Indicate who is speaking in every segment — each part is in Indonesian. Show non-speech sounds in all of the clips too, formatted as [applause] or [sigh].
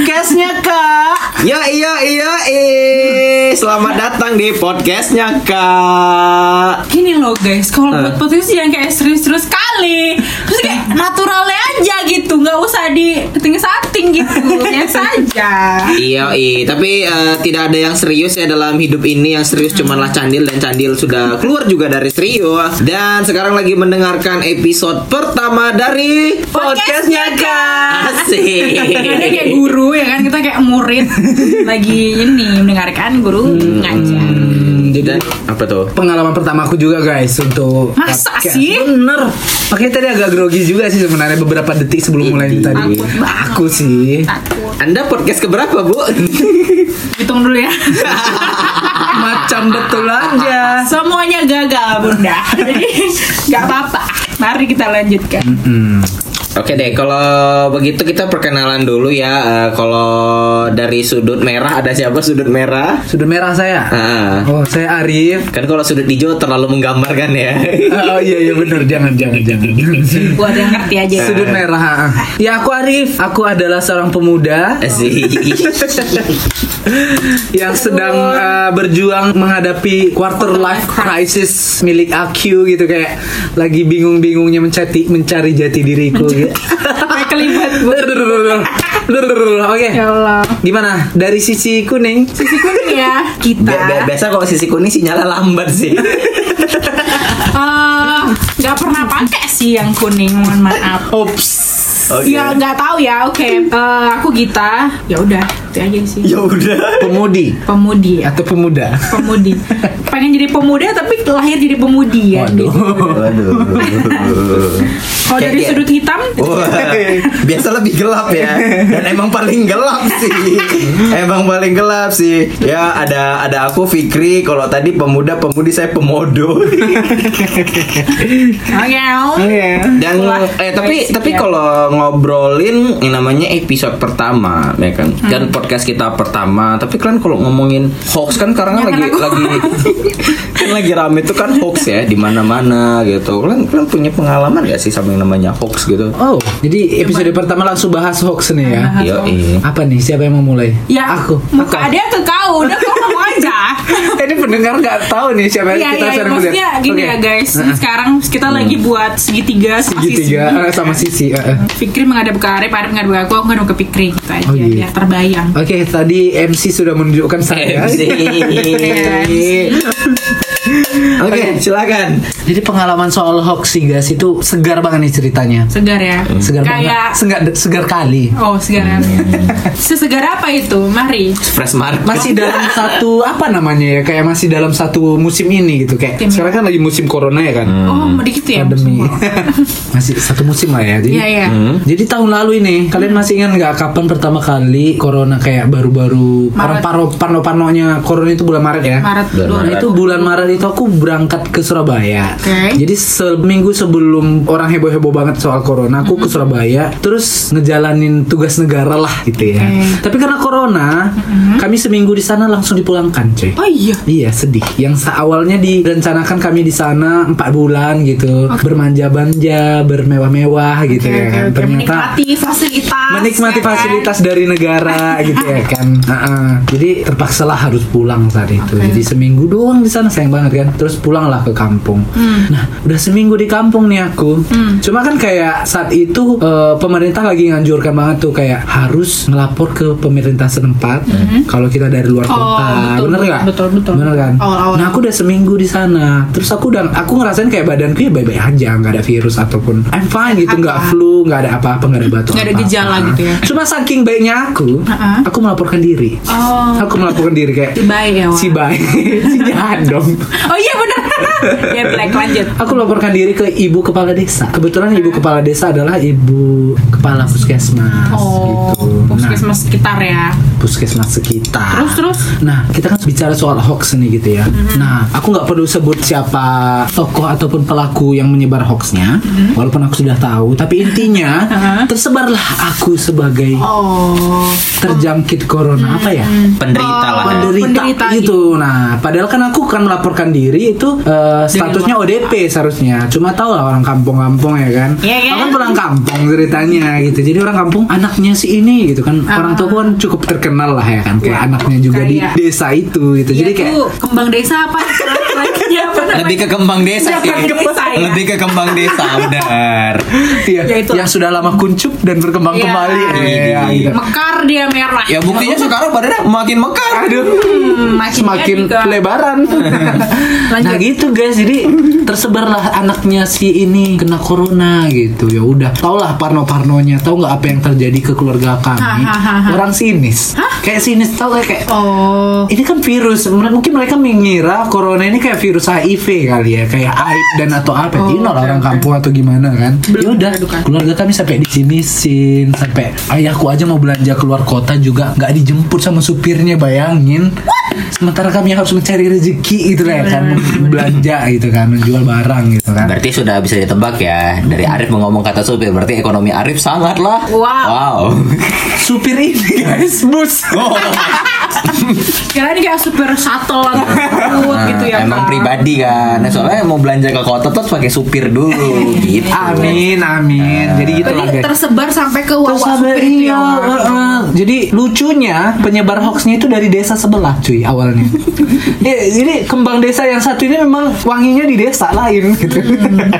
Speaker 1: podcastnya kak
Speaker 2: Yo iya iya eh selamat datang di podcastnya kak.
Speaker 3: Gini loh guys, kalau buat podcast yang kayak serius-serius kali Terus [laughs] kayak naturalnya aja gitu, nggak usah di setting gitu Biasa aja
Speaker 2: Iya iya tapi eh, tidak ada yang serius ya dalam hidup ini yang serius cumanlah Candil dan Candil sudah keluar juga dari serius dan sekarang lagi mendengarkan episode pertama dari
Speaker 3: Podcastnya, Kak. Karena kayak
Speaker 2: Asik.
Speaker 3: guru ya kan, kita kayak murid Lagi ini, mendengarkan guru ngajar
Speaker 2: Dan apa tuh?
Speaker 1: pengalaman pertama aku juga guys untuk
Speaker 3: Masa sih?
Speaker 1: bener makanya tadi agak grogi juga sih sebenarnya beberapa detik sebelum mulai ini tadi
Speaker 3: Takut banget.
Speaker 1: aku sih
Speaker 3: Takut,
Speaker 2: Anda podcast keberapa bu?
Speaker 3: hitung dulu ya
Speaker 1: macam betul aja
Speaker 3: Semuanya gagal bunda Jadi nggak apa-apa Mari kita lanjutkan
Speaker 1: Hmm.
Speaker 2: [laughs] Oke deh, kalau begitu kita perkenalan dulu ya. Eh, kalau dari sudut merah ada siapa sudut merah?
Speaker 1: sudah merah saya
Speaker 2: Ah,
Speaker 1: oh saya Arif [laughs]
Speaker 2: kan kalau sudut hijau terlalu menggambarkan ya.
Speaker 1: Oh iya iya bener jangan jangan jangan
Speaker 3: Buat yang ngerti aja
Speaker 1: Sudut merah. ha. Ya aku Arif, aku adalah seorang
Speaker 2: [laughs]
Speaker 1: pemuda
Speaker 2: Asik.
Speaker 1: yang sedang eh, berjuang menghadapi quarter life crisis milik aku gitu kayak lagi bingung-bingungnya mencari mencari jati diriku. gitu.
Speaker 3: [laughs] Kayak kelibat
Speaker 1: Oke.
Speaker 3: Ya Allah
Speaker 1: Gimana? Dari sisi kuning?
Speaker 3: Sisi kuning ya Kita
Speaker 2: Bi- bi- biasa kalau sisi kuning sinyalnya lambat sih.
Speaker 3: Eh, nggak pernah pakai sih yang kuning mohon maaf
Speaker 1: Ops.
Speaker 2: Oke.
Speaker 1: iya.
Speaker 3: ya nggak tahu ya oke Eh, aku Gita ya udah itu aja sih
Speaker 1: Iya.
Speaker 2: Ya udah.
Speaker 1: Pemudi
Speaker 3: pemudi ya
Speaker 1: atau pemuda?
Speaker 3: pemudi pengen jadi pemuda tapi lahir jadi pemudi ya
Speaker 2: Waduh.
Speaker 3: kalau dari
Speaker 2: Kayak-
Speaker 3: sudut hitam
Speaker 1: Oh.
Speaker 2: Wah, biasa lebih gelap ya dan emang paling gelap sih emang paling gelap sih ya ada ada aku Fikri kalau tadi pemuda pemudi saya pemodo
Speaker 3: oke
Speaker 2: dan eh tapi tapi kalau ngobrolin yang namanya episode pertama ya kan
Speaker 3: Hmm.
Speaker 2: dan podcast kita pertama tapi kan kalau ngomongin hoax kan karena lagi
Speaker 3: Jangan aku. [laughs]
Speaker 2: lagi kan lagi rame itu kan hoax ya di mana mana gitu kalian kalian punya pengalaman gak sih sama yang namanya hoax gitu
Speaker 1: Oh, jadi episode pertama langsung bahas hoax nih ya.
Speaker 2: Yo, iya.
Speaker 1: Apa nih? Siapa yang mau mulai?
Speaker 3: ya
Speaker 1: aku.
Speaker 3: muka
Speaker 1: Aku.
Speaker 3: dia ke kau udah kau ngomong aja
Speaker 1: [laughs] Ini pendengar nggak tahu nih siapa
Speaker 3: Iya, iya,
Speaker 1: kita
Speaker 3: iya.
Speaker 1: sering
Speaker 3: maksudnya
Speaker 1: melihat.
Speaker 3: gini
Speaker 1: Oke. Hmm.
Speaker 3: ya guys Sekarang kita lagi buat segitiga sama
Speaker 1: segitiga eh, sama sisi. eh, eh.
Speaker 3: Fikri menghadap ke Arif, Arif menghadap ke aku, aku menghadap ke Fikri Gitu aja,
Speaker 1: Oh, iya.
Speaker 3: biar terbayang
Speaker 1: Oke, tadi MC sudah menunjukkan [laughs] saya.
Speaker 2: MC. [laughs] Oke, silakan.
Speaker 1: Jadi pengalaman soal hoax sih guys itu segar banget nih ceritanya.
Speaker 3: Segar ya
Speaker 1: Segar
Speaker 3: Kayak
Speaker 1: banget. Hmm. Segar segar kali.
Speaker 3: Oh segar [laughs] Sesegar apa itu? Mari
Speaker 2: Fresh Market.
Speaker 1: Masih dalam satu apa namanya ya? Kayak masih dalam satu musim ini gitu kayak.
Speaker 3: Tim.
Speaker 1: Sekarang kan lagi musim corona ya kan.
Speaker 3: Oh dikit ya
Speaker 1: Pandemi.
Speaker 3: semua.
Speaker 1: masih satu musim lah ya. Jadi
Speaker 3: Iya Hmm. iya
Speaker 2: Hmm.
Speaker 1: Jadi tahun lalu ini kalian masih ingat nggak kapan pertama kali corona kayak baru-baru
Speaker 3: Maret.
Speaker 1: parno parno parnonya corona itu bulan Maret ya?
Speaker 3: Maret
Speaker 2: Dan
Speaker 3: dua
Speaker 1: Nah,
Speaker 2: Maret.
Speaker 1: itu bulan Maret itu aku berangkat ke Surabaya.
Speaker 3: Oke.
Speaker 1: Jadi seminggu sebelum orang heboh-heboh banget soal corona, aku ke
Speaker 3: Hmm.
Speaker 1: Surabaya terus ngejalanin tugas negara lah gitu ya.
Speaker 3: Oke. Hmm.
Speaker 1: Tapi karena corona, kami seminggu di sana langsung dipulangkan, cuy.
Speaker 3: Oh iya
Speaker 1: Iya sedih. Yang sa- awalnya direncanakan kami di sana empat bulan gitu, bermanja-manja, bermewah-mewah gitu
Speaker 3: Oke,
Speaker 1: ya.
Speaker 3: oke,
Speaker 1: kan.
Speaker 3: oke.
Speaker 1: Ternyata
Speaker 3: Menikmati fasilitas
Speaker 1: menikmati
Speaker 3: ya kan?
Speaker 1: fasilitas dari
Speaker 3: [laughs]
Speaker 1: negara gitu ya kan. Heeh. Jadi terpaksalah harus pulang saat itu.
Speaker 3: Oke.
Speaker 1: Jadi seminggu doang di sana sayang banget kan. Terus pulanglah ke kampung.
Speaker 3: Hmm.
Speaker 1: Nah, udah seminggu di kampung nih aku. Cuma kan kayak saat itu eh, pemerintah lagi nganjurkan banget tuh kayak harus ngelapor ke pemerintah setempat kalau kita dari luar
Speaker 3: Hmm. Oh,
Speaker 1: kota.
Speaker 3: betul,
Speaker 1: Bener
Speaker 3: betul,
Speaker 1: nggak?
Speaker 3: betul, betul.
Speaker 1: Bener kan?
Speaker 3: Awal-awal.
Speaker 1: Nah, aku udah seminggu di sana. Terus aku udah aku ngerasain kayak badanku ya baik-baik aja, nggak ada virus ataupun I'm fine gitu, nggak flu, nggak ada apa-apa, nggak ada batuk
Speaker 3: Nggak ada
Speaker 1: apa-apa.
Speaker 3: gejala gitu ya?
Speaker 1: Cuma saking baiknya aku,
Speaker 3: Heeh.
Speaker 1: aku melaporkan diri.
Speaker 3: Oh.
Speaker 1: Aku melaporkan diri kayak
Speaker 3: Si baik ya Wak?
Speaker 1: si baik, [laughs] si jahat dong.
Speaker 3: Oh iya
Speaker 1: [laughs]
Speaker 3: bener Ya black lanjut
Speaker 1: Aku laporkan diri ke ibu kepala desa. Kebetulan ibu kepala desa adalah ibu kepala puskesmas.
Speaker 3: Oh
Speaker 1: gitu. Nah,
Speaker 3: Puskesmas sekitar ya
Speaker 1: puskesmas sekitar.
Speaker 3: Terus Mm-hmm. terus
Speaker 1: Nah, kita kan bicara soal hoax nih gitu ya. Nah, aku nggak perlu sebut siapa tokoh ataupun pelaku yang menyebar hoaxnya,
Speaker 3: Mm-hmm. [laughs]
Speaker 1: walaupun aku sudah tahu. Tapi intinya tersebarlah aku sebagai
Speaker 3: Oh
Speaker 1: terjangkit corona apa ya?
Speaker 2: penderita lah ya.
Speaker 1: penderita,
Speaker 3: Hmm, Penderita
Speaker 1: gitu. Nah, padahal kan aku kan melaporkan diri itu eh, statusnya ODP seharusnya. Cuma tahu lah orang kampung-kampung ya kan.
Speaker 3: Iya, kan?
Speaker 1: Aku kan pulang kampung ceritanya gitu. Jadi orang kampung anaknya si ini gitu
Speaker 3: Ah.
Speaker 1: kan. Orang tua aku kan cukup terkenal lah ya kan. Kayak
Speaker 3: Iya.
Speaker 1: anaknya juga di
Speaker 3: Kayak-
Speaker 1: desa itu
Speaker 3: Iya
Speaker 1: gitu. Jadi kayak
Speaker 3: Itu kembang desa
Speaker 1: [laughs]
Speaker 3: apa? Iya, Lagi apa namanya?
Speaker 2: lebih ke kembang desa sih
Speaker 3: Jangan desa, ya.
Speaker 2: lebih ke kembang desa benar
Speaker 1: iya,
Speaker 3: Ya, itu.
Speaker 1: yang sudah lama kuncup dan berkembang
Speaker 3: Iya.
Speaker 1: kembali. Iya,
Speaker 2: Iya.
Speaker 1: gitu.
Speaker 3: Mekar dia merah.
Speaker 2: ya buktinya sekarang badannya makin mekar
Speaker 1: Aduh.
Speaker 3: Hmm, makin
Speaker 1: semakin
Speaker 3: juga. [laughs]
Speaker 1: lebaran. nah gitu guys, jadi tersebarlah anaknya si ini kena corona gitu. Ya udah, taulah parno-parnonya, tahu nggak apa yang terjadi ke keluarga kami?
Speaker 3: Ha, ha, ha, ha.
Speaker 1: Orang sinis, kayak sinis tahu kayak, kayak
Speaker 3: Oh.
Speaker 1: ini kan virus. Mer- Mungkin mereka mengira corona ini kayak virus HIV kali ya, kayak aib dan atau apa?
Speaker 3: Oh,
Speaker 1: Dino lah
Speaker 3: oke,
Speaker 1: orang
Speaker 3: oke.
Speaker 1: kampung atau gimana kan? Ya
Speaker 3: Belum
Speaker 1: udah,
Speaker 3: diadukan.
Speaker 1: keluarga kami sampai di sini sin sampai ayahku aja mau belanja keluar kota juga nggak dijemput sama supirnya bayangin. Sementara kami harus mencari rezeki gitu lah ya
Speaker 3: Iya,
Speaker 1: kan, belanja gitu kan, menjual barang gitu kan.
Speaker 2: Berarti sudah bisa ditebak ya dari Arif mengomong kata supir berarti ekonomi Arif sangatlah
Speaker 3: Wow.
Speaker 1: Supir ini guys, bus.
Speaker 2: Wow.
Speaker 3: Kira ini kayak super shuttle
Speaker 1: [laughs]
Speaker 3: atau food gitu ya.
Speaker 2: Nah, emang
Speaker 3: Pak.
Speaker 2: pribadi kan soalnya mau belanja ke kota terus pakai supir
Speaker 3: [laughs]
Speaker 2: dulu
Speaker 3: Iya.
Speaker 2: gitu
Speaker 1: Amin, amin. Jadi gitu lah
Speaker 3: Berarti
Speaker 1: guys.
Speaker 3: tersebar sampai ke
Speaker 1: Terus
Speaker 3: wawa
Speaker 1: ada-
Speaker 3: supir itu
Speaker 1: iya,
Speaker 3: ya.
Speaker 1: heeh. Jadi lucunya penyebar hoaxnya itu dari desa sebelah cuy
Speaker 3: [laughs]
Speaker 1: awalnya. Dia, jadi kembang desa yang satu ini memang wanginya di desa lain gitu.
Speaker 3: Hmm.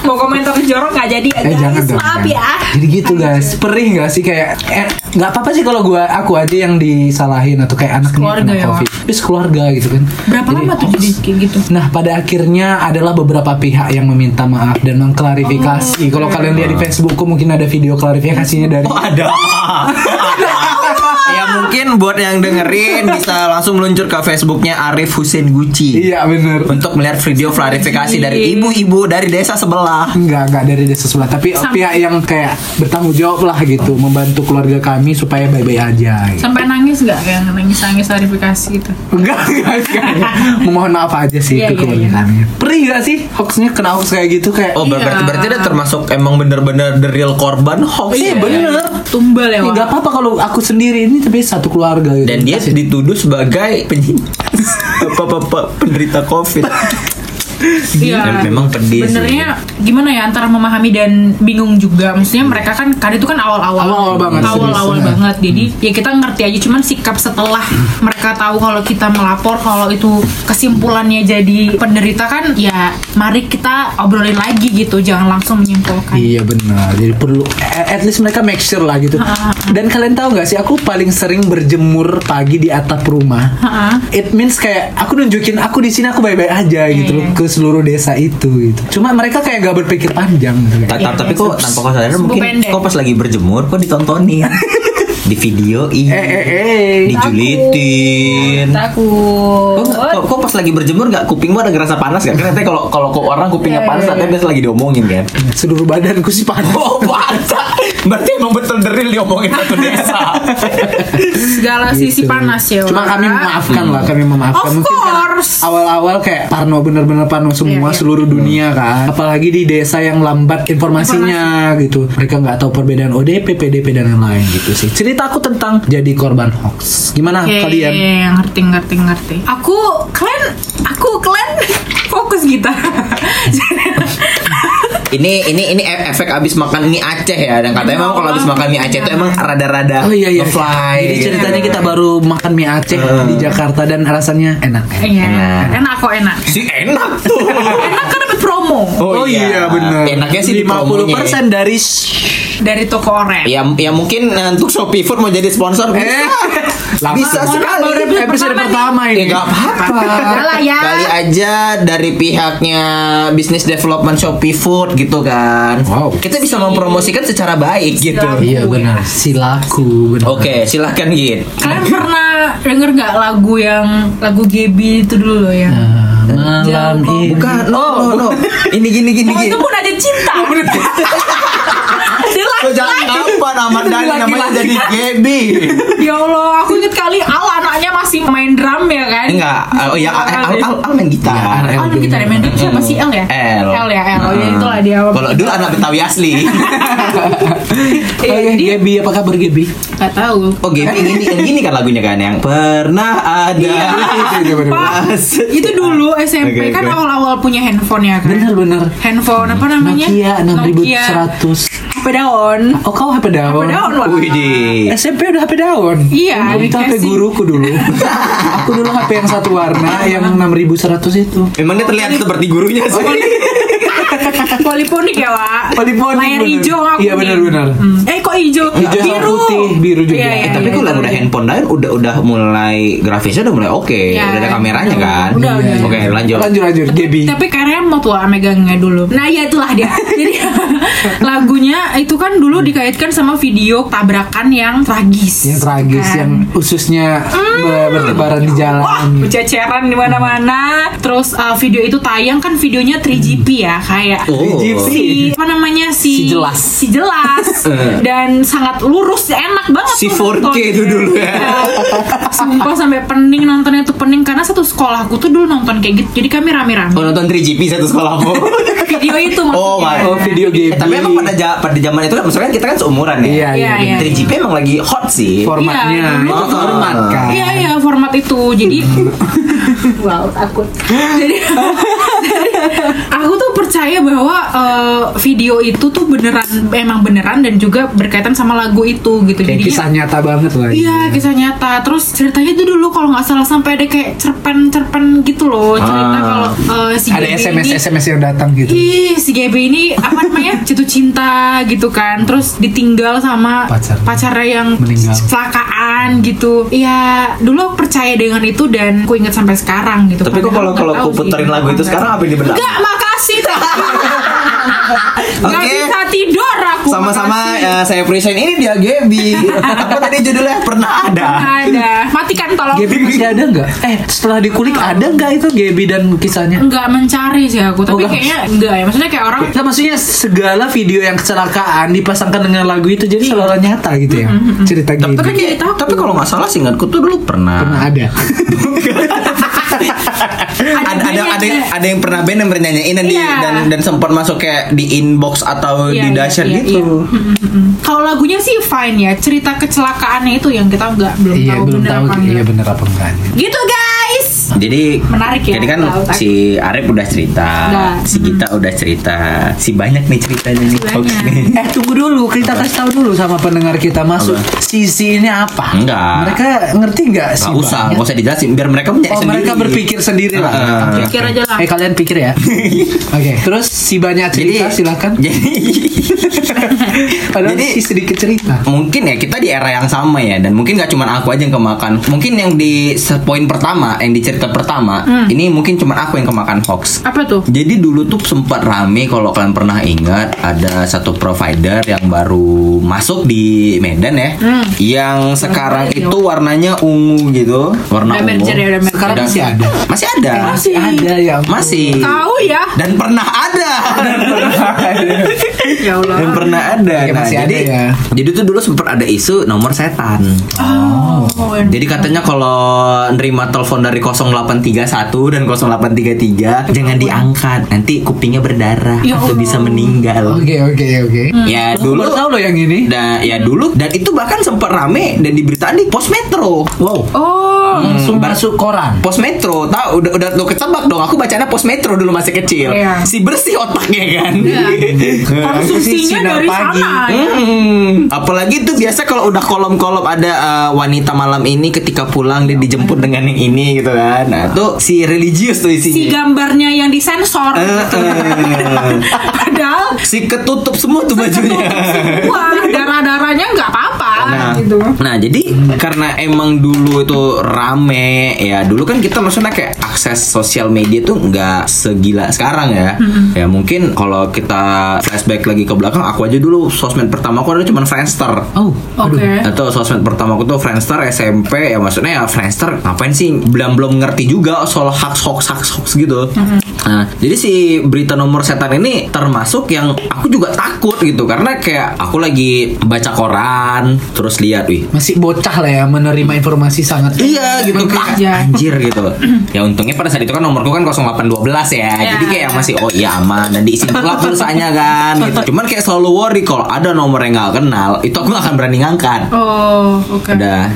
Speaker 3: Mau komentar jorok nggak jadi ya
Speaker 1: [laughs] eh
Speaker 3: guys.
Speaker 1: jangan dong.
Speaker 3: Maaf
Speaker 1: jangan.
Speaker 3: ya.
Speaker 1: Jadi gitu guys, perih nggak sih kayak eh, nggak apa-apa sih kalau gua aku aja yang disalahin atau kayak anak
Speaker 3: Keluarga ya,
Speaker 1: covid. Terus keluarga gitu kan.
Speaker 3: Berapa
Speaker 1: Jadi
Speaker 3: lama tuh
Speaker 1: hoax.
Speaker 3: jadi kayak gitu?
Speaker 1: Nah, pada akhirnya adalah beberapa pihak yang meminta maaf dan mengklarifikasi.
Speaker 3: Oh.
Speaker 1: Kalau kalian lihat di Facebookku mungkin ada video klarifikasinya dari
Speaker 2: ada ya mungkin buat yang dengerin bisa langsung meluncur ke Facebooknya Arif Hussein Gucci
Speaker 1: [laughs] Iya bener
Speaker 2: untuk melihat video klarifikasi
Speaker 3: Iya.
Speaker 2: dari ibu-ibu dari desa sebelah
Speaker 1: Enggak, enggak dari desa sebelah Tapi pihak yang kayak bertanggung jawab lah gitu Membantu keluarga kami supaya baik-baik aja gitu.
Speaker 3: Sampai nangis nggak kayak nangis-nangis klarifikasi gitu?
Speaker 1: Enggak, enggak, enggak, enggak. Memohon maaf aja sih
Speaker 3: Iya, iya,
Speaker 1: ke keluarga
Speaker 3: iya.
Speaker 1: kami Perih gak sih? Hoaxnya kena hoax kayak gitu kayak
Speaker 2: Oh berarti
Speaker 3: Iya.
Speaker 2: berarti dia termasuk emang bener-bener the real korban hoax ya?
Speaker 1: Iya bener
Speaker 3: Tumbal ya.
Speaker 1: Eh,
Speaker 3: Wak.
Speaker 1: Nggak apa-apa kalau aku sendiri ini tapi satu keluarga gitu
Speaker 2: dan dia dituduh sebagai penyintas apa penderita covid
Speaker 3: Iya.
Speaker 2: memang pedih sih.
Speaker 3: Benernya gimana ya antara memahami dan bingung juga. Maksudnya mereka kan kan itu kan awal-awal.
Speaker 1: Awal-awal banget,
Speaker 3: Awal-awal
Speaker 1: serius. Hmm.
Speaker 3: banget. Jadi ya kita ngerti aja cuman sikap setelah mereka tahu kalau kita melapor kalau itu kesimpulannya jadi penderita kan ya mari kita obrolin lagi gitu. Jangan langsung menyimpulkan.
Speaker 1: Iya benar. Jadi perlu at least mereka make sure lah gitu.
Speaker 3: Ah,
Speaker 1: Dan kalian tahu nggak sih aku paling sering berjemur pagi di atap rumah.
Speaker 3: Ha-ha.
Speaker 1: It means kayak aku nunjukin aku di sini aku baik-baik aja gitu loh
Speaker 3: iya.
Speaker 1: ke seluruh desa itu gitu. Cuma mereka kayak gak berpikir panjang gitu.
Speaker 2: Ta- ta- tapi kok tanpa kau sadar
Speaker 3: Sebelum
Speaker 2: mungkin
Speaker 3: pendek.
Speaker 2: kau pas lagi berjemur kok ditontonin di video
Speaker 1: Eh eh eh. Iya.
Speaker 2: dijulitin
Speaker 3: Takut.
Speaker 1: Oh,
Speaker 2: Kok, kok, kok pas lagi berjemur nggak kupingmu ada ngerasa panas nggak? Karena nanti kalau kalau kok orang kupingnya
Speaker 3: Eh.
Speaker 2: panas, nanti biasa lagi diomongin kan.
Speaker 1: Seluruh badanku sih panas.
Speaker 2: Oh panas, berarti emang betul deril diomongin satu desa.
Speaker 3: Segala sisi
Speaker 1: Gitu.
Speaker 3: panas ya.
Speaker 1: Cuma
Speaker 3: Wak.
Speaker 1: kami memaafkan lah, kami memaafkan.
Speaker 3: Of
Speaker 1: Mungkin karena
Speaker 3: course.
Speaker 1: awal-awal kayak Parno bener-bener Parno semua
Speaker 3: Iya, iya.
Speaker 1: seluruh dunia kan. Apalagi di desa yang lambat informasinya gitu. Mereka nggak tahu perbedaan ODP, PDP dan lain-lain gitu sih. Cerita aku tentang jadi korban hoax.
Speaker 2: Ah,
Speaker 1: Gimana
Speaker 3: Oke,
Speaker 1: kalian?
Speaker 3: iya, ngerti ngerti ngerti. Aku kalian aku kalian [laughs] fokus kita. [laughs]
Speaker 2: ini ini ini e- efek abis makan mie Aceh ya. Dan
Speaker 3: Iya,
Speaker 2: katanya emang kalau abis makan mie Aceh itu emang rada-rada
Speaker 1: Oh iya iya.
Speaker 2: ngefly
Speaker 1: Jadi
Speaker 2: gitu.
Speaker 1: ceritanya kita baru makan mie Aceh di Jakarta dan rasanya enak. ya?
Speaker 3: Iya,
Speaker 2: Enak.
Speaker 3: enak kok enak.
Speaker 2: si enak tuh.
Speaker 3: Enak kan dapat promo
Speaker 2: Oh iya,
Speaker 1: bener.
Speaker 2: Enaknya sih di
Speaker 1: 50%
Speaker 2: promonya.
Speaker 1: dari
Speaker 3: dari toko oren.
Speaker 2: [laughs] Ya, ya mungkin eh, untuk Shopee Food mau jadi sponsor
Speaker 1: Eh,
Speaker 2: bisa, bisa
Speaker 1: Lama.
Speaker 2: sekali.
Speaker 1: Baru episode
Speaker 3: Pertama
Speaker 2: Ya
Speaker 3: nih.
Speaker 1: pertama ini.
Speaker 2: nggak
Speaker 3: Udah
Speaker 2: apa-apa.
Speaker 3: lah ya.
Speaker 2: Kali aja dari pihaknya bisnis development Shopee Food gitu kan.
Speaker 1: Wow.
Speaker 2: Kita bisa mempromosikan secara baik gitu.
Speaker 3: Silakan.
Speaker 1: [laughs] Iya benar, silaku benar.
Speaker 2: Oke, silahkan Gin.
Speaker 3: Kalian pernah denger nggak lagu yang lagu Gebi itu dulu loh ya?
Speaker 1: Nah,
Speaker 3: Jangan
Speaker 1: malam ini.
Speaker 2: Bukan, no, Oh, no, no. Ini gini gini
Speaker 3: Oh,
Speaker 2: gini.
Speaker 3: itu pun ada cinta. Ada
Speaker 2: Kau
Speaker 3: lagi.
Speaker 2: jangan kapan Ahmad
Speaker 1: Itu
Speaker 2: Dhani
Speaker 1: laki-laki.
Speaker 2: namanya jadi Gebi.
Speaker 3: Ya Allah, aku inget kali Al anaknya masih main drum ya kan?
Speaker 2: Enggak, oh ya Al Al, Al, Al main gitar.
Speaker 1: Iya.
Speaker 3: Al kita ada main drum siapa sih L ya?
Speaker 2: L.
Speaker 3: ya L. Oh ya
Speaker 2: Iya. Nah.
Speaker 3: itulah dia.
Speaker 2: [laughs] Kalau dulu anak Betawi asli.
Speaker 1: Oke, Gaby, Eh, apa kabar Gaby?
Speaker 3: Gak Eh, tahu.
Speaker 2: Oh Gaby ini yang gini kan lagunya kan yang pernah
Speaker 3: Iya.
Speaker 2: ada.
Speaker 1: Itu, itu, itu.
Speaker 2: [laughs] Pas.
Speaker 3: Itu
Speaker 1: [laughs]
Speaker 3: dulu SMP
Speaker 2: Oke,
Speaker 3: kan
Speaker 2: oke.
Speaker 3: awal-awal punya handphone ya kan.
Speaker 1: Bener bener.
Speaker 3: Handphone apa namanya?
Speaker 1: Nokia 6100.
Speaker 3: HP daun.
Speaker 1: Oh kau HP daun?
Speaker 3: HP daun wah.
Speaker 2: Widih.
Speaker 1: SMP udah HP daun.
Speaker 3: Iya,
Speaker 1: Dulu itu HP
Speaker 3: dikasih.
Speaker 1: guruku
Speaker 3: [laughs]
Speaker 1: dulu. Aku dulu HP yang satu warna yang 6100 itu.
Speaker 2: Memangnya terlihat seperti gurunya sih.
Speaker 3: Oh, iya.
Speaker 1: [laughs]
Speaker 3: Poliponik ya, Wak.
Speaker 1: Poliponik,
Speaker 3: Layar
Speaker 1: bener.
Speaker 3: hijau aku.
Speaker 1: Iya, bener,
Speaker 3: nih.
Speaker 1: benar.
Speaker 3: Hmm. Eh kok hijau?
Speaker 1: Hijau sama
Speaker 3: biru.
Speaker 1: putih, biru juga.
Speaker 3: Iya,
Speaker 1: Eh,
Speaker 3: iya,
Speaker 2: Tapi
Speaker 3: iya,
Speaker 2: kalau
Speaker 3: iya.
Speaker 2: udah handphone lain udah udah mulai grafisnya udah mulai oke,
Speaker 3: Ya,
Speaker 2: udah ada kameranya
Speaker 3: udah,
Speaker 2: kan.
Speaker 3: udah, udah.
Speaker 2: Oke, lanjut.
Speaker 1: Lanjut lanjut. Gaby.
Speaker 3: Tapi kayaknya mau tua megangnya dulu. Nah ya itulah
Speaker 1: [laughs]
Speaker 3: dia. Jadi [laughs] lagunya itu kan dulu dikaitkan sama video tabrakan yang tragis.
Speaker 1: Yang tragis
Speaker 3: kan. Hmm.
Speaker 1: yang ususnya ber- bertebaran di jalan.
Speaker 3: Wah, berceceran Hmm. di mana-mana. Terus uh, video itu tayang kan videonya 3GP ya, kayak
Speaker 2: Oh.
Speaker 3: si apa namanya si,
Speaker 1: Si jelas.
Speaker 3: si jelas
Speaker 2: [laughs]
Speaker 3: dan sangat lurus enak banget
Speaker 2: Eh. Si
Speaker 3: tuh
Speaker 2: 4K
Speaker 3: nonton.
Speaker 2: itu dulu ya.
Speaker 3: Iya. sumpah sampai pening nontonnya tuh pening karena satu sekolahku tuh dulu nonton kayak gitu jadi kami
Speaker 2: Oh
Speaker 3: rame-rame
Speaker 2: nonton 3GP satu
Speaker 3: [laughs]
Speaker 2: sekolahmu.
Speaker 3: video itu
Speaker 2: Oh,
Speaker 3: maksudnya.
Speaker 1: Oh video
Speaker 2: Eh,
Speaker 1: Gaby.
Speaker 2: tapi emang pada ja- pada zaman itu kan maksudnya kita kan seumuran ya.
Speaker 1: Iya
Speaker 3: Iya,
Speaker 1: iya.
Speaker 3: iya.
Speaker 1: iya.
Speaker 2: 3GP emang lagi hot sih.
Speaker 1: Formatnya.
Speaker 3: Iya, dulu
Speaker 1: itu
Speaker 2: tuh.
Speaker 1: format kan.
Speaker 3: Iya iya format itu jadi wow takut jadi aku tuh percaya bahwa eh, video itu tuh beneran emang beneran dan juga berkaitan sama lagu itu gitu
Speaker 1: Kayak
Speaker 3: Jadinya-
Speaker 1: kisah nyata banget lah.
Speaker 3: Iya kisah nyata. Terus ceritanya itu dulu kalau nggak salah sampai ada kayak cerpen-cerpen gitu loh cerita
Speaker 2: Ah.
Speaker 3: kalau eh, si
Speaker 1: Ada
Speaker 3: Gaby
Speaker 1: SMS
Speaker 3: ini, Iya.
Speaker 1: SMS yang datang gitu.
Speaker 3: Ih, si GB ini apa namanya? Jatuh cinta gitu kan. Terus ditinggal sama
Speaker 1: Pacarnya.
Speaker 3: pacarnya yang
Speaker 1: Meninggal.
Speaker 3: kecelakaan gitu. Iya, dulu aku percaya dengan itu dan aku ingat sampai sekarang gitu.
Speaker 2: Tapi kok kalau
Speaker 3: Padahal
Speaker 2: kalau
Speaker 3: nggak
Speaker 2: aku
Speaker 3: tahu
Speaker 2: puterin
Speaker 3: sih.
Speaker 2: lagu itu sekarang apa yang di benak?
Speaker 3: Enggak, makasih.
Speaker 2: [laughs]
Speaker 3: Gak
Speaker 2: Oke.
Speaker 3: bisa tidur aku.
Speaker 2: Sama-sama
Speaker 3: makasih.
Speaker 2: eh, saya present ini dia
Speaker 3: [laughs]
Speaker 2: Gaby. Apa tadi judulnya pernah ada.
Speaker 3: ada. Matikan tolong.
Speaker 1: Gaby masih ada nggak? Eh setelah dikulik
Speaker 3: Iya.
Speaker 1: ada nggak itu Gaby dan kisahnya?
Speaker 3: Enggak mencari sih aku, tapi
Speaker 1: Oh, nggak.
Speaker 3: kayaknya enggak ya. Maksudnya kayak orang
Speaker 1: Nah, maksudnya segala video yang kecelakaan dipasangkan dengan lagu itu jadi
Speaker 3: Iya.
Speaker 1: seolah nyata gitu ya
Speaker 3: Mm-hmm.
Speaker 1: cerita gitu
Speaker 2: Tapi kayak-
Speaker 3: kan Jadi takut.
Speaker 2: tapi kalau nggak salah singkatku tuh dulu pernah.
Speaker 1: pernah
Speaker 2: [laughs]
Speaker 1: ada
Speaker 2: ada ada ada,
Speaker 3: bandnya
Speaker 2: ada, yang,
Speaker 3: juga.
Speaker 2: ada yang pernah band yang bernyanyiin dan, di-
Speaker 3: Iya.
Speaker 2: dan dan sempat masuk kayak di inbox atau
Speaker 3: Iya,
Speaker 2: di
Speaker 3: iya,
Speaker 2: dasar
Speaker 3: iya,
Speaker 2: gitu.
Speaker 3: iya. Mm-mm. Kalau lagunya sih fine ya, cerita kecelakaannya itu yang kita nggak [laughs] belum
Speaker 1: iya
Speaker 3: tahu
Speaker 1: belum
Speaker 3: bener
Speaker 1: tahu
Speaker 3: apa enggak.
Speaker 1: iya bener apa enggak
Speaker 3: Gitu guys.
Speaker 2: Jadi
Speaker 3: Menarik ya,
Speaker 2: Jadi kan
Speaker 3: tahu, Nah. Hmm. tahu.
Speaker 2: si Arif udah cerita,
Speaker 3: Udah.
Speaker 2: si Gita udah cerita, si banyak nih ceritanya nih.
Speaker 3: Banyak.
Speaker 2: Oke.
Speaker 1: eh tunggu dulu kita kasih tahu dulu sama pendengar kita masuk sisi ini apa
Speaker 2: Enggak.
Speaker 1: mereka ngerti nggak sih
Speaker 2: Nggak usah, Ah.
Speaker 1: banyak?
Speaker 2: nggak usah dijelasin biar mereka mencari
Speaker 1: oh
Speaker 2: sendiri.
Speaker 1: mereka berpikir sendiri lah
Speaker 2: Heeh.
Speaker 1: Oke.
Speaker 3: Pikir aja lah.
Speaker 1: eh kalian pikir
Speaker 2: [laughs]
Speaker 1: ya oke terus si banyak cerita silakan
Speaker 2: Jadi
Speaker 1: padahal
Speaker 2: ya, Jadi-
Speaker 1: si sedikit cerita
Speaker 2: mungkin ya kita di era yang sama ya dan mungkin gak cuman aku aja yang kemakan. Mungkin yang di se- poin pertama, yang di cerita pertama,
Speaker 3: Hmm.
Speaker 2: ini mungkin cuman aku yang kemakan hoax.
Speaker 3: Apa tuh?
Speaker 2: Jadi dulu tuh sempat rame kalau kalian pernah ingat ada satu provider yang baru masuk di Medan ya,
Speaker 3: Hmm.
Speaker 2: yang sekarang itu warnanya ungu gitu, warna
Speaker 3: Udah
Speaker 2: ungu.
Speaker 3: merger ya, udah merger.
Speaker 1: Sekarang masih ada.
Speaker 2: Masih ada.
Speaker 1: masih ada ya
Speaker 2: Masih.
Speaker 3: Tahu ya.
Speaker 2: Dan pernah ada.
Speaker 3: ya Allah.
Speaker 2: Dan pernah ada.
Speaker 1: Oke,
Speaker 2: Nah,
Speaker 1: Ah. masih ada
Speaker 2: jadi
Speaker 1: ya. Hmm.
Speaker 2: jadi tuh dulu sempat ada isu nomor setan.
Speaker 3: Oh.
Speaker 2: Jadi katanya kalau nerima telepon dari 0831 dan 0833 jangan diangkat. Nanti kupingnya berdarah
Speaker 3: Ya
Speaker 2: atau
Speaker 3: Allah.
Speaker 2: bisa meninggal.
Speaker 1: oke oke oke
Speaker 3: Hmm.
Speaker 2: Ya dulu
Speaker 1: Baru tahu loh yang ini
Speaker 2: dan ya dulu dan itu bahkan sempat rame dan diberitain di Pos Metro.
Speaker 1: wow
Speaker 3: Oh.
Speaker 1: langsung
Speaker 2: Hmm.
Speaker 1: masuk koran
Speaker 2: Pos Metro, tahu udah udah lo ketebak dong. Aku bacanya Pos Metro dulu masih kecil.
Speaker 3: Iya.
Speaker 2: Si bersih otaknya kan.
Speaker 1: Iya.
Speaker 2: [laughs]
Speaker 1: Eh,
Speaker 3: Konsumsinya
Speaker 1: Sinar
Speaker 3: dari
Speaker 1: pagi.
Speaker 3: sana. ya.
Speaker 2: Hmm, apalagi itu biasa kalau udah kolom-kolom ada eh, wanita malam ini ketika pulang dia dijemput dengan yang ini gitu kan. Nah, tuh si religius tuh
Speaker 3: Si
Speaker 2: isinya.
Speaker 3: gambarnya yang disensor.
Speaker 2: Iya. Eh, eh.
Speaker 3: [laughs] Padahal
Speaker 2: si ketutup semua tuh
Speaker 3: [laughs]
Speaker 2: bajunya. [laughs]
Speaker 3: wah darah-darahnya nggak apa-apa
Speaker 2: Iya. Nah,
Speaker 3: gitu.
Speaker 2: nah, jadi karena emang dulu itu rame ya dulu kan kita maksudnya kayak akses sosial media tuh nggak segila sekarang ya ya mungkin kalau kita flashback lagi ke belakang aku aja dulu sosmed pertama aku ada cuma Friendster
Speaker 1: Oh,
Speaker 3: Oke.
Speaker 2: atau sosmed pertama aku tuh Friendster SMP ya maksudnya ya Friendster ngapain sih belum belum ngerti juga soal hoax hoax hoax hoax gitu nah jadi si berita nomor setan ini termasuk yang aku juga takut gitu karena kayak aku lagi baca koran terus lihat lihat wih
Speaker 1: masih bocah lah ya menerima informasi sangat
Speaker 2: Iya gitu kayak
Speaker 3: Iya.
Speaker 2: anjir gitu. Ya untungnya pada saat itu kan nomorku kan 0812 ya.
Speaker 3: Ya.
Speaker 2: Jadi kayak masih oh iya aman dan diisi pula pulsanya kan gitu. Cuman kayak selalu worry kalau ada nomor yang nggak kenal, itu aku nggak akan berani ngangkat.
Speaker 3: Oh, oke.
Speaker 2: Udah.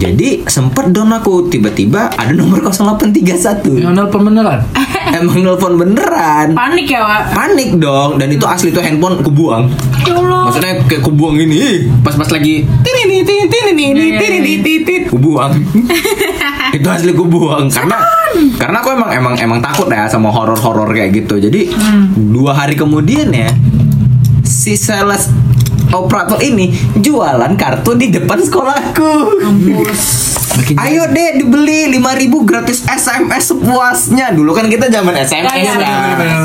Speaker 2: Jadi sempet down aku tiba-tiba ada nomor 0831.
Speaker 1: yang nelpon beneran
Speaker 2: Emang nelpon beneran.
Speaker 3: Panik ya, Wak?
Speaker 2: Panik dong dan itu asli tuh handphone kebuang.
Speaker 3: Ya Allah.
Speaker 2: Maksudnya kayak kubuang gini, ih, pas-pas lagi tinini tin tinini
Speaker 3: Iya,
Speaker 2: tinini titit
Speaker 3: [laughs]
Speaker 2: kubuang. itu asli kubuang karena karena aku emang emang emang takut ya sama horor-horor kayak gitu. Jadi
Speaker 3: Hmm.
Speaker 2: dua hari kemudian ya si sales operator ini jualan kartu di depan sekolahku.
Speaker 1: makin
Speaker 2: Ayo deh dibeli 5000 gratis SMS sepuasnya. Dulu kan kita zaman SMS
Speaker 3: Iya, iya,
Speaker 2: kan.
Speaker 1: iya, iya.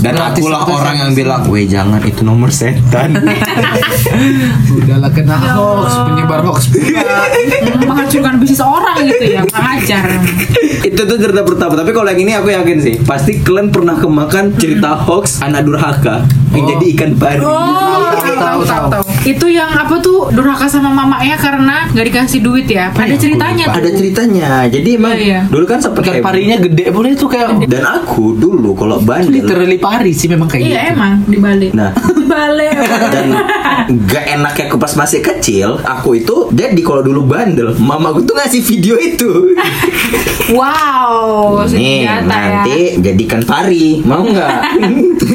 Speaker 2: Dan
Speaker 1: Gratis
Speaker 2: akulah
Speaker 1: satu
Speaker 2: orang
Speaker 1: SMS.
Speaker 2: yang bilang, "Weh, jangan itu nomor
Speaker 3: [laughs]
Speaker 2: setan."
Speaker 1: udahlah kena
Speaker 3: Ya
Speaker 1: hoax penyebar
Speaker 3: [laughs]
Speaker 1: hoax
Speaker 3: menghancurkan bisnis orang gitu ya, kurang ajar.
Speaker 2: itu tuh cerita pertama tapi kalau yang ini aku yakin sih pasti kalian pernah kemakan cerita hoax anak durhaka yang
Speaker 1: Oh.
Speaker 2: jadi ikan pari
Speaker 3: Hmm. Oh,
Speaker 1: Tahu, tahu, tahu, tahu.
Speaker 3: Itu yang apa tuh durhaka sama mamanya karena gak dikasih duit ya. Ada ceritanya
Speaker 2: Iya. ada
Speaker 3: tuh.
Speaker 2: ceritanya jadi emang
Speaker 3: Iya, iya.
Speaker 2: dulu kan sempat
Speaker 1: ikan
Speaker 2: kayak
Speaker 1: parinya gede boleh tuh kayak
Speaker 2: dan aku dulu kalau bandel
Speaker 1: literally pari sih memang kayak
Speaker 3: Iya
Speaker 1: gitu
Speaker 3: emang dibalik.
Speaker 2: nah [laughs]
Speaker 3: Dibalik.
Speaker 2: dan gak enaknya aku pas masih kecil aku itu jadi kalau dulu bandel mamaku tuh ngasih video itu
Speaker 3: Wow,
Speaker 2: nih
Speaker 3: senjata ya.
Speaker 2: nanti jadikan pari mau
Speaker 3: [laughs]
Speaker 2: nggak
Speaker 1: gitu.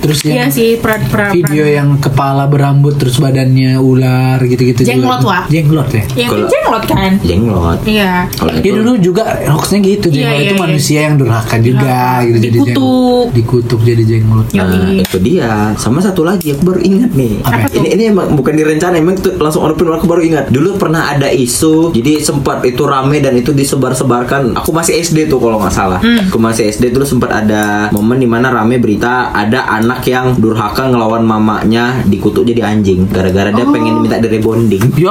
Speaker 1: terus
Speaker 3: Iya
Speaker 1: yang
Speaker 3: sih, peran peran.
Speaker 1: video ya. yang kepala berambut terus badannya ular gitu-gitu juga.
Speaker 3: Jenglot, Wak.
Speaker 1: jenglot ya
Speaker 3: Yang
Speaker 2: Kalau-
Speaker 3: jenglot kan?
Speaker 2: jenglot
Speaker 3: Iya.
Speaker 2: kalau
Speaker 1: Ya
Speaker 2: itu-
Speaker 1: dulu juga hoaxnya gitu
Speaker 3: Iya,
Speaker 1: jenglot
Speaker 3: iya,
Speaker 1: itu
Speaker 3: iya.
Speaker 1: manusia yang durhaka juga
Speaker 3: Durhaka.
Speaker 1: gitu jadi
Speaker 3: Dikutuk.
Speaker 1: jenglot. dikutuk jadi jenglot.
Speaker 3: Ya,
Speaker 2: Nah,
Speaker 3: iya.
Speaker 2: itu dia. Sama satu lagi aku baru ingat nih. Nah,
Speaker 1: Apa
Speaker 2: ini ini emang bukan direncana, emang itu langsung open aku baru ingat. Dulu pernah ada isu, jadi sempat itu rame dan itu disebar-sebarkan. Aku masih SD tuh kalau nggak salah.
Speaker 1: Hmm.
Speaker 2: Aku masih SD dulu sempat ada momen dimana rame berita ada anak yang durhaka ngelawan mamanya dikutuk jadi anjing gara-gara dia pengen
Speaker 1: Oh.
Speaker 2: minta di rebonding.
Speaker 1: Ya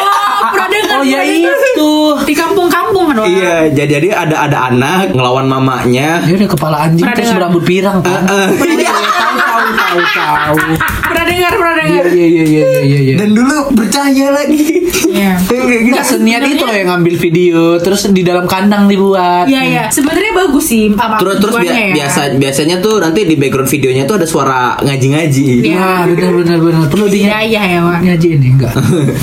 Speaker 3: Oh, pernah dengar
Speaker 1: Oh, ya
Speaker 3: pernah dengar.
Speaker 1: itu.
Speaker 3: Di kampung-kampung kan? Wak?
Speaker 2: Iya, jadi jadi ada ada anak ngelawan mamanya.
Speaker 1: Dia Ya udah kepala anjing
Speaker 3: Pernah
Speaker 1: terus
Speaker 3: dengar.
Speaker 1: berambut pirang kan. Iya, tahu tahu tahu tahu.
Speaker 3: Pernah dengar, pernah
Speaker 1: Iya
Speaker 3: dengar.
Speaker 1: iya iya iya iya iya.
Speaker 2: Dan dulu percaya lagi.
Speaker 3: Iya.
Speaker 2: Kayak gitu.
Speaker 1: Nggak seniat itu loh yang ngambil video terus di dalam kandang dibuat.
Speaker 3: Iya, iya. Sebenarnya bagus sih. Apa,
Speaker 2: Terus terus bia-
Speaker 3: tujuannya ya.
Speaker 2: biasa biasanya tuh nanti di background videonya tuh ada suara ngaji-ngaji.
Speaker 3: Iya.
Speaker 1: Ya, benar benar benar perlu di
Speaker 3: Iya, iya ya,
Speaker 2: [laughs]
Speaker 3: Wak.
Speaker 1: ngaji ini enggak.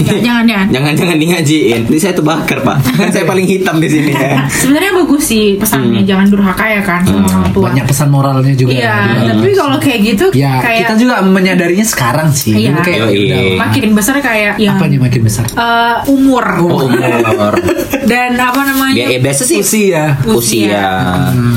Speaker 3: Ya, jangan ya.
Speaker 2: Jangan-jangan di ngajiin. Ini saya terbakar,
Speaker 3: [laughs]
Speaker 2: Pak. Kan saya paling hitam di sini
Speaker 1: Eh,
Speaker 2: ya.
Speaker 3: Ah, Sebenarnya bagus sih pesannya jangan durhaka ya kan sama orang tua.
Speaker 1: Hmm. Ah, Banyak pesan moralnya juga.
Speaker 3: Iya,
Speaker 1: Iya.
Speaker 3: tapi kalau kayak gitu
Speaker 1: Ya,
Speaker 3: kayak
Speaker 1: kita juga menyadarinya sekarang sih.
Speaker 3: Iya.
Speaker 1: Dulu kayak
Speaker 2: Yoi.
Speaker 1: udah.
Speaker 3: makin ya." besar kayak yang
Speaker 1: Apanya Oh. makin besar?
Speaker 3: eh, umur iya.
Speaker 2: Umur.
Speaker 3: dan apa namanya?
Speaker 2: Ya, ya biasa sih
Speaker 1: Usia.
Speaker 2: usia.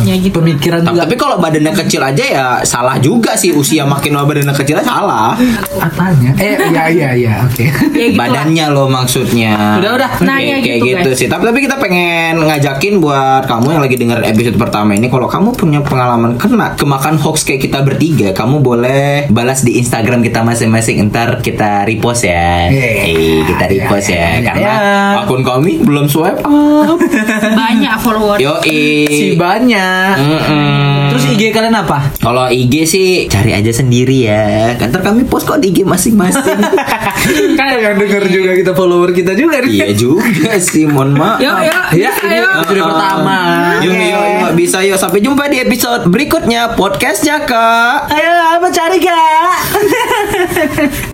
Speaker 3: Ya gitu.
Speaker 1: Pemikiran
Speaker 2: Ta-
Speaker 1: juga
Speaker 2: Tapi kalau badannya kecil aja ya salah juga sih usia makin lama badannya kecil salah.
Speaker 1: apanya? Eh, iya iya iya,
Speaker 2: [laughs]
Speaker 1: oke.
Speaker 3: Ya gitu. lah.
Speaker 2: Badannya loh maksudnya.
Speaker 1: Udah, udah.
Speaker 2: Kayak-
Speaker 3: Nah, ya
Speaker 2: kayak
Speaker 3: gitu,
Speaker 2: gitu,
Speaker 3: guys.
Speaker 2: sih. Tapi tapi kita pengen ngajakin buat kamu yang lagi dengerin episode pertama ini kalau kamu punya pengalaman kena kemakan hoax kayak kita bertiga, kamu boleh balas di Instagram kita masing-masing entar kita repost ya.
Speaker 1: Iya.
Speaker 2: Eh, kita repost
Speaker 1: Iya, iya,
Speaker 2: ya karena
Speaker 1: iya.
Speaker 2: akun kami belum swipe up.
Speaker 3: Banyak follower.
Speaker 2: Yo
Speaker 1: Oh, Si banyak.
Speaker 2: Hmm.
Speaker 1: Terus IG kalian apa?
Speaker 2: Kalau IG sih cari aja sendiri ya. Ntar kami post kok di IG
Speaker 1: [laughs]
Speaker 2: masing-masing.
Speaker 1: kan yang denger juga kita follower kita juga nih.
Speaker 2: iya juga sih, mohon maaf.
Speaker 3: Yo, yo,
Speaker 1: Ya,
Speaker 3: bisa,
Speaker 1: ini
Speaker 3: yo.
Speaker 1: episode pertama.
Speaker 2: Yuk, yuk, yuk, bisa yuk. Sampai jumpa di episode berikutnya podcastnya kak.
Speaker 1: Ayo, apa cari kak?